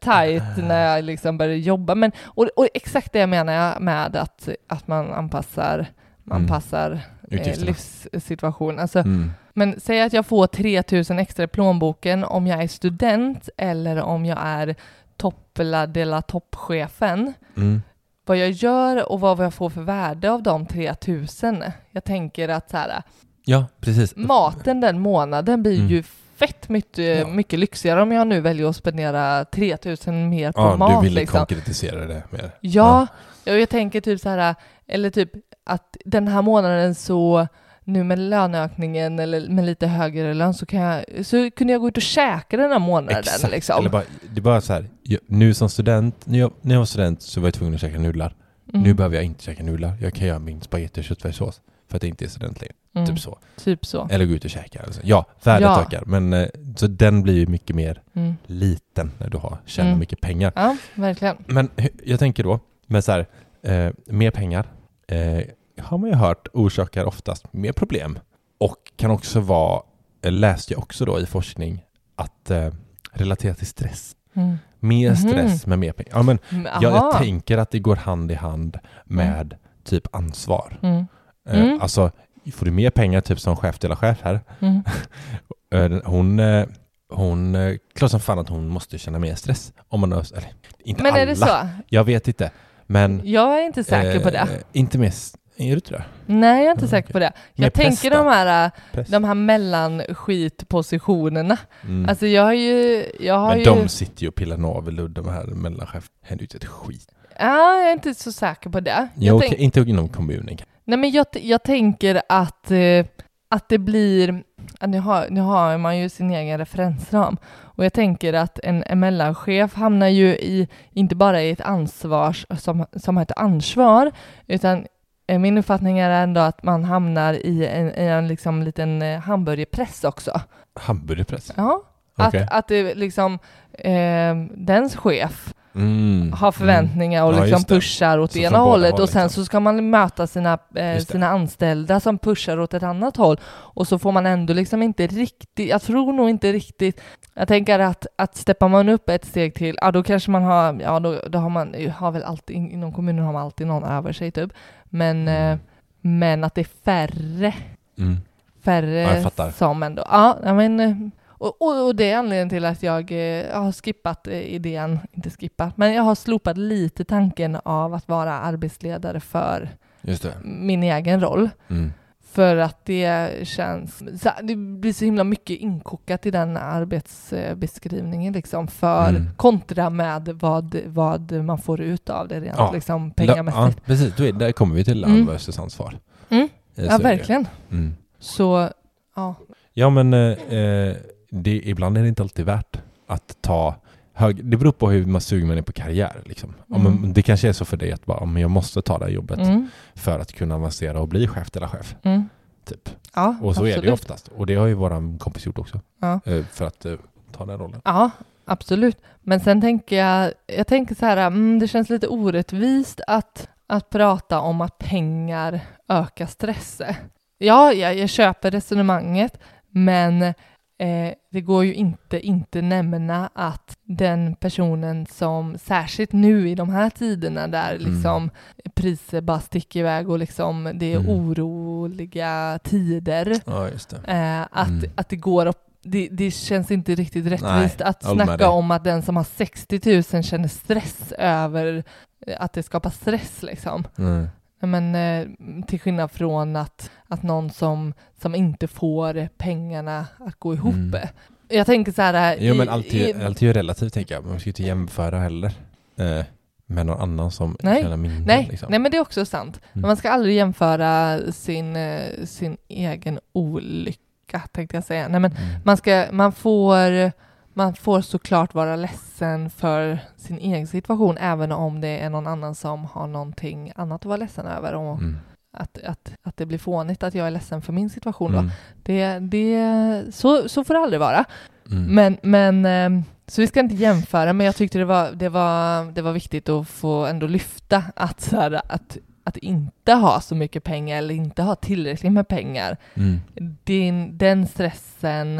tight när jag liksom började jobba. Men, och, och exakt det menar jag med att, att man anpassar, man Mm. anpassar och eh, utgifterna. livssituation. Alltså, Mm. Men säg att jag får 3000 extra i plånboken om jag är student eller om jag är toppla dela toppchefen. Mm. Vad jag gör och vad jag får för värde av de 3000. Jag tänker att så här, Ja, precis. Mm, maten den månaden blir Mm. ju fett mycket, Ja. mycket lyxigare om jag nu väljer att spendera 3000 mer på Ja, mat. du ville liksom. konkretisera det mer. Ja, ja, jag tänker typ så här, eller typ att den här månaden så nu med löneökningen eller med lite högre lön så, kan jag, så kunde jag gå ut och käka den här månaden. Exakt. Liksom. Eller bara, det är bara så här, jag- nu som student, när jag, när jag var student så var jag tvungen att käka nudlar. Mm, Nu behöver jag inte käka nudlar. Jag kan göra min spagetti och köttfärssås för att jag inte är student längre. mm, Typ så. typ så. Eller gå ut och käka. Alltså. Ja, värdet Ja. ökar. Men, eh, så den blir ju mycket mer Mm. liten när du har, tjänar Mm. mycket pengar. Ja, verkligen. Men hu- jag tänker då, men så här, eh, mer pengar eh, har man ju hört orsakar oftast mer problem och kan också vara, eh, läste jag också då i forskning, att eh, relatera till stress. Mm. Mer Mhm. stress med mer pengar. Ja, men Mm, jag, jag aha. tänker att det går hand i hand med typ ansvar. Mm, Eh, Mm. Alltså, får du mer pengar typ som chef till chef här, mm, Eh, den- hon, eh, hon, eh, klart som fan att hon måste känna mer stress om man, har- eller inte Men alla, är det så? jag vet inte. Men Jag är inte säker på Eh, det. Inte mest. Är du inte det? Nej, jag är inte okej. säker på det. Mer Jag press tänker då? de här, Press. de här mellanskitpositionerna. Mm. Alltså jag har ju... Jag har men ju... de sitter ju och pillar navel och de här mellancheferna. händer ju inte ett skit. Ja, jag är inte så säker på det. Jo, Jag okej, tänk, Inte inom kommunen. nej, men jag, t- jag tänker att, eh, att det blir... ja, Nu har, nu har man ju sin egen referensram. Och jag tänker att en, en mellanchef hamnar ju i, inte bara i ett ansvars, som, som har ett ansvar, utan eh, min uppfattning är ändå att man hamnar i en, i en liksom liten eh, hamburgerpress också. Hamburgerpress. Ja. Okej. Att, att det liksom, eh, ehm, dens chef Mm. har förväntningar och Ja, liksom just det. pushar åt Så det från ena båda hållet håll, och sen liksom. så ska man möta sina, eh, Just det. sina anställda som pushar åt ett annat håll och så får man ändå liksom inte riktigt, jag tror nog inte riktigt, jag tänker att, att steppar man upp ett steg till, ja då kanske man har, ja då, då har man, har väl alltid, inom kommunen har man alltid någon över sig typ, men, eh, men att det är färre Mm. Ja, jag färre fattar. som ändå. Ja, ja, men, eh, och, och, och det är anledningen till att jag eh, har skippat eh, idén, inte skippat, men jag har slopat lite tanken av att vara arbetsledare för Just det. min egen roll. Mm. För att det känns, så- det blir så himla mycket inkokat i den arbetsbeskrivningen liksom för Mm. kontra med vad, vad man får ut av det rent Ja. liksom Ja, pengamässigt. precis. Då är- Där kommer vi till Mm. Alva Östersands svar. Mm. Eh, Ja, så är det. verkligen. Mm. Så, ja. Ja, men eh, eh, det, ibland är det inte alltid värt att ta hög... Det beror på hur man sugen man är på karriär. Liksom. Ja, men Mm. det kanske är så för dig att bara, ja, men jag måste ta det här jobbet Mm, för att kunna avancera och bli chef eller chef. mm. Typ. Ja, Och så är det ju absolut. oftast. Och det har ju våran kompis gjort också. Ja. Eh, för att eh, ta den rollen. Ja, absolut. Men sen tänker jag, jag tänker så här, mm, det känns lite orättvist att, att prata om att pengar ökar stress. Ja, jag, jag köper resonemanget, men eh, det går ju inte inte nämna att den personen som, särskilt nu i de här tiderna där Mm. liksom priser bara sticker iväg och liksom det är Mm. oroliga tider. Ja, just det. Eh, att, Mm. att det går att det, det känns inte riktigt rättvist att jag håller med dig. snacka om att den som har 60 000 känner stress över eh, att det skapar stress liksom. Mm. Ja, Men, eh, till skillnad från att, att någon som, som inte får pengarna att gå ihop. Mm. Jag tänker så här... eh, Jo, i- men i- alltid, alltid är relativt tänker jag. Man ska ju inte jämföra heller eh, med någon annan som Nej. tjänar mindre. Nej, liksom. Mm. nej, men det är också sant. Men man ska aldrig jämföra sin, eh, sin egen olycka, tänkte jag säga. Nej, men Mm. man, ska, man, får, man får såklart vara ledsen för sin egen situation, även om det är någon annan som har någonting annat att vara ledsen över. Och Mm. att, att, att det blir fånigt att jag är ledsen för min situation. Mm. Då. Det, det, så, så får det aldrig vara. Mm. Men, men, ehm, så vi ska inte jämföra, men jag tyckte det var, det var, det var viktigt att få ändå lyfta att, så här, att, att inte ha så mycket pengar eller inte ha tillräckligt med pengar. Mm. Din, den stressen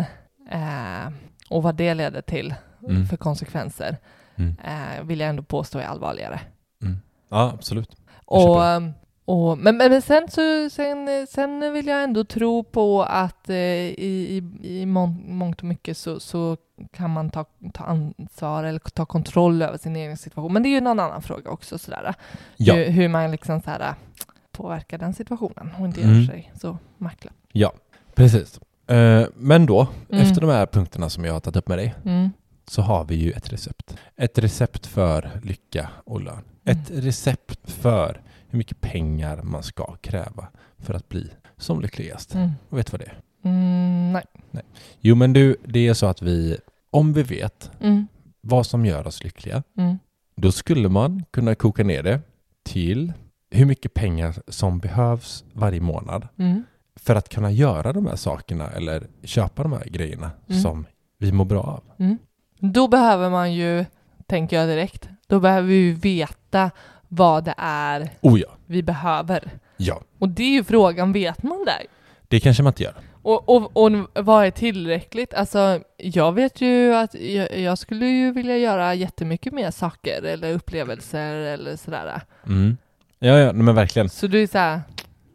eh, och vad det leder till Mm. för konsekvenser Mm. eh, vill jag ändå påstå är allvarligare. Ja, absolut. Jag Och, eh, köper och, men, men men sen, så, sen, sen vill jag ändå tro på att eh, i, i, i mång- mångt och mycket så, så kan man ta, ta ansvar eller ta kontroll över sin egen situation. Men det är ju en annan fråga också, sådär, Ja. hur, hur man liksom sådär, påverkar den situationen och inte Mm. gör sig så mackla. Ja, precis. Eh, Men då, Mm. efter de här punkterna som jag har tagit upp med dig, Mm. så har vi ju ett recept. Ett recept för lycka och Mm. lön. Ett recept för hur mycket pengar man ska kräva för att bli som lyckligast. Mm. Och Vet du vad det är? Mm, nej. Jo, men du, det är så att vi, om vi vet Mm. vad som gör oss lyckliga, Mm. då skulle man kunna koka ner det till hur mycket pengar som behövs varje månad Mm. för att kunna göra de här sakerna eller köpa de här grejerna Mm. som vi mår bra av. Då behöver man ju, tänker jag direkt, då behöver vi ju veta vad det är Oh ja, vi behöver. ja. Och det är ju frågan, vet man det? Det kanske man inte gör. Och, och, och vad är tillräckligt? Alltså, jag vet ju att jag, jag skulle ju vilja göra jättemycket mer saker eller upplevelser eller sådär. Mm. Ja, ja, nej, men verkligen. Så du är såhär,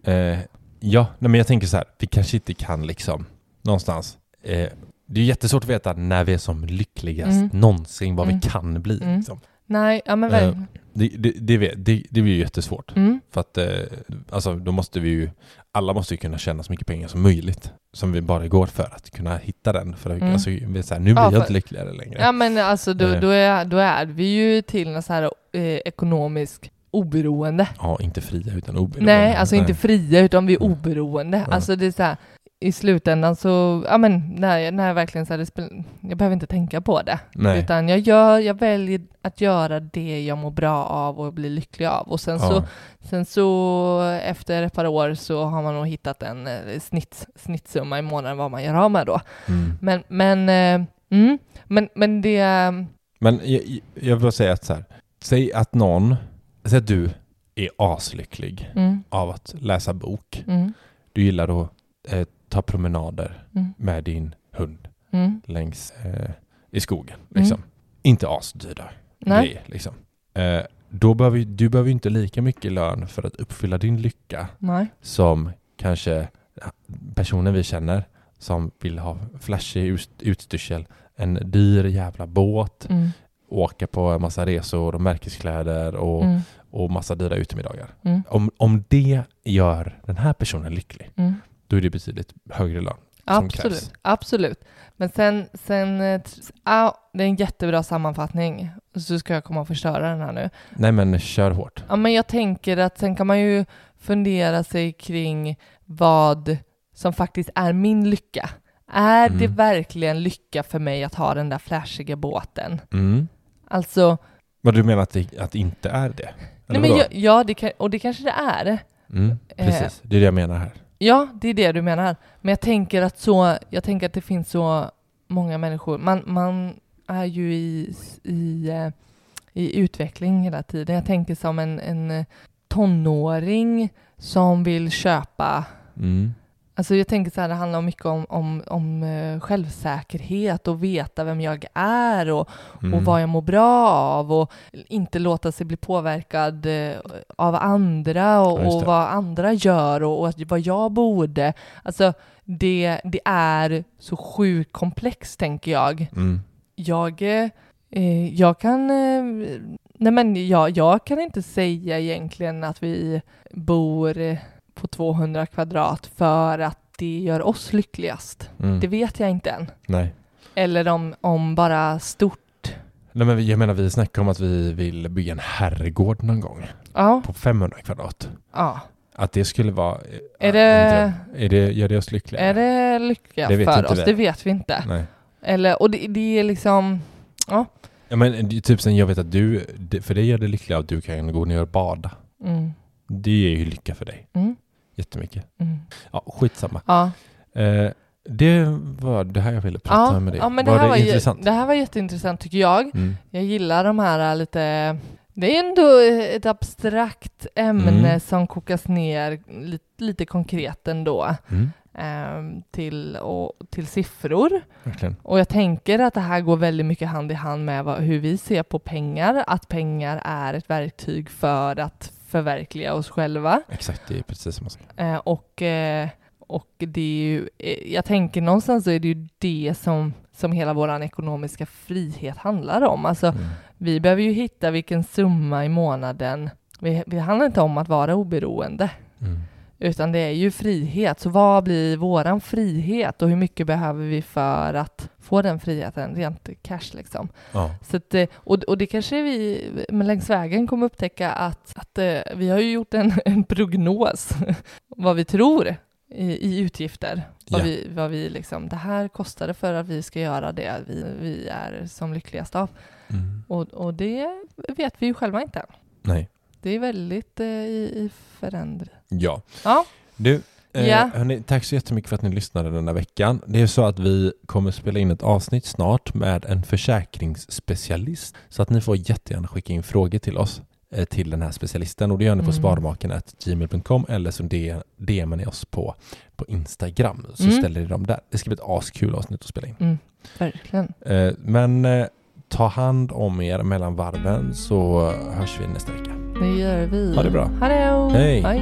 Eh, ja, nej, men jag tänker så här, vi kanske inte kan liksom någonstans. Eh, det är jättesvårt att veta när vi är som lyckligast Mm. någonsin, vad Mm. vi kan bli. Mm. Liksom. nej, ja men verkligen. Det, det, det, vet- det, det blir ju jättesvårt. Mm, För att eh, alltså, då måste vi ju, alla måste ju kunna tjäna så mycket pengar som möjligt. Som vi bara går för att kunna hitta den. För att, Mm. alltså, vi är så här, nu blir Ja, jag för- inte lyckligare längre. Ja men alltså då, Eh. då, är, då är vi ju till något så här eh, ekonomisk oberoende. Ja, inte fria utan oberoende. Nej, alltså inte fria utan vi är oberoende. Ja. Alltså det är så här, i slutändan så, ja men när jag, när jag verkligen så här, det spel, jag behöver inte tänka på det. Nej. Utan jag, gör, jag väljer att göra det jag mår bra av och blir lycklig av. Och sen, så, Ja. sen så efter ett par år så har man nog hittat en eh, snitt, snittsumma i månaden vad man gör av med då. Mm. Men, men, eh, mm, men, men det, Men jag, jag vill bara säga att så här, säg att någon, säg att du är aslycklig Mm. av att läsa bok. Mm. Du gillar att eh, ta promenader Mm. med din hund Mm. längs eh, i skogen. Liksom. Inte asdyra Nej. grejer. Liksom. Eh, då behöver, ju- du behöver ju inte lika mycket lön för att uppfylla din lycka Nej. som kanske personen vi känner som vill ha flashig ut- utstyrsel, en dyr jävla båt, Mm. åka på en massa resor och märkeskläder och, Mm. och massa dyra utemiddagar. Mm. Om, om det gör den här personen lycklig, Mm. då är det betydligt högre lön. som Absolut, krävs. absolut. Men sen, sen eh, tr- ah, det är en jättebra sammanfattning, så ska jag komma och förstöra den här nu. Nej men kör hårt. Ja, men jag tänker att sen kan man ju fundera sig kring vad som faktiskt är min lycka. Är det Mm. verkligen lycka för mig att ha den där flashiga båten? Mm. Alltså, Men du menar att det, att det inte är det? Eller nej men vadå? jag, Eh. ja, det kan, och det kanske det är. mm, precis, det är det jag menar här. Ja, det är det du menar. Men jag tänker att, så, jag tänker att det finns så många människor. Man, man är ju i, i, eh, i utveckling hela tiden. Jag tänker som en, en eh, tonåring som vill köpa Mm. Alltså jag tänker så här, det handlar mycket om, om, om eh, självsäkerhet och veta vem jag är och, Mm. och vad jag mår bra av och inte låta sig bli påverkad eh, av andra och, Ja, just och det. vad andra gör och, och att- vad jag borde. Alltså det, det är så sjukt komplext tänker jag. Mm. Jag, eh, eh, jag kan... Eh, nej men jag, jag kan inte säga egentligen att vi bor eh, på 200 kvadrat för att det gör oss lyckligast. Mm. Det vet jag inte än. Nej. Eller om, om bara stort. Nej men vi- jag menar vi snackade om att vi vill bygga en herrgård någon gång Ja, på 500 kvadrat. ja. Att det skulle vara... eh, Är en det- dröm. Är det gör det oss lyckliga? Är det lycka Det vet för inte oss? vi. Mm. Det vet vi inte. Nej. Eller, och det, det är liksom... Ja, men det är typ sen jag vet att du, det- för dig gör det lyckliga att du kan gå ner och bada. Mm, Det är ju lycka för dig. mm, Jättemycket. mm. Ja, skitsamma. Ja. Eh, det var det här jag ville prata Ja, med dig. ja, men det här det var, ju, intressant? det här var jätteintressant tycker jag. Mm. Jag gillar de här äh, lite... Det är ändå äh, ett abstrakt ämne Mm. som kokas ner lite, lite konkret ändå Mm. ehm, till, och, till siffror. Verkligen. Och jag tänker att det här går väldigt mycket hand i hand med vad, hur vi ser på pengar, att pengar är ett verktyg för att förverkliga oss själva. Exakt, det är precis som man säger. Eh, och, eh, och det är ju, eh, jag tänker någonstans så är det ju det som, som hela vår ekonomiska frihet handlar om. Alltså, Mm. vi behöver ju hitta vilken summa i månaden. Vi, vi handlar inte om att vara oberoende, Mm. utan det är ju frihet. Så vad blir våran frihet och hur mycket behöver vi för att få den friheten rent cash liksom? Ja. Så att, eh, och, och det kanske vi men längs vägen kommer upptäcka att, att eh, vi har ju gjort en, en prognos vad vi tror i, i utgifter. Vad, Ja. vi, vad vi liksom, det här kostade för att vi ska göra det vi, vi är som lyckligast av. Mm. Och, och det vet vi ju själva inte än. Nej. Det är väldigt eh, i, i förändring. Ja. Ja, Du, eh, Ja. hörni, tack så jättemycket för att ni lyssnade den här veckan. Det är så att vi kommer spela in ett avsnitt snart med en försäkringsspecialist. Så att ni får jättegärna skicka in frågor till oss, eh, till den här specialisten. Och det gör ni på Mm. sparmaken.gmail.com eller så D- DMar ni oss på, på Instagram. Så Mm. ställer ni dem där. Det ska bli ett askul avsnitt att spela in. verkligen. Eh, men eh, ta hand om er mellan varven så hörs vi nästa vecka. Det gör vi. Ha det bra. Hallå. Hej. Hej.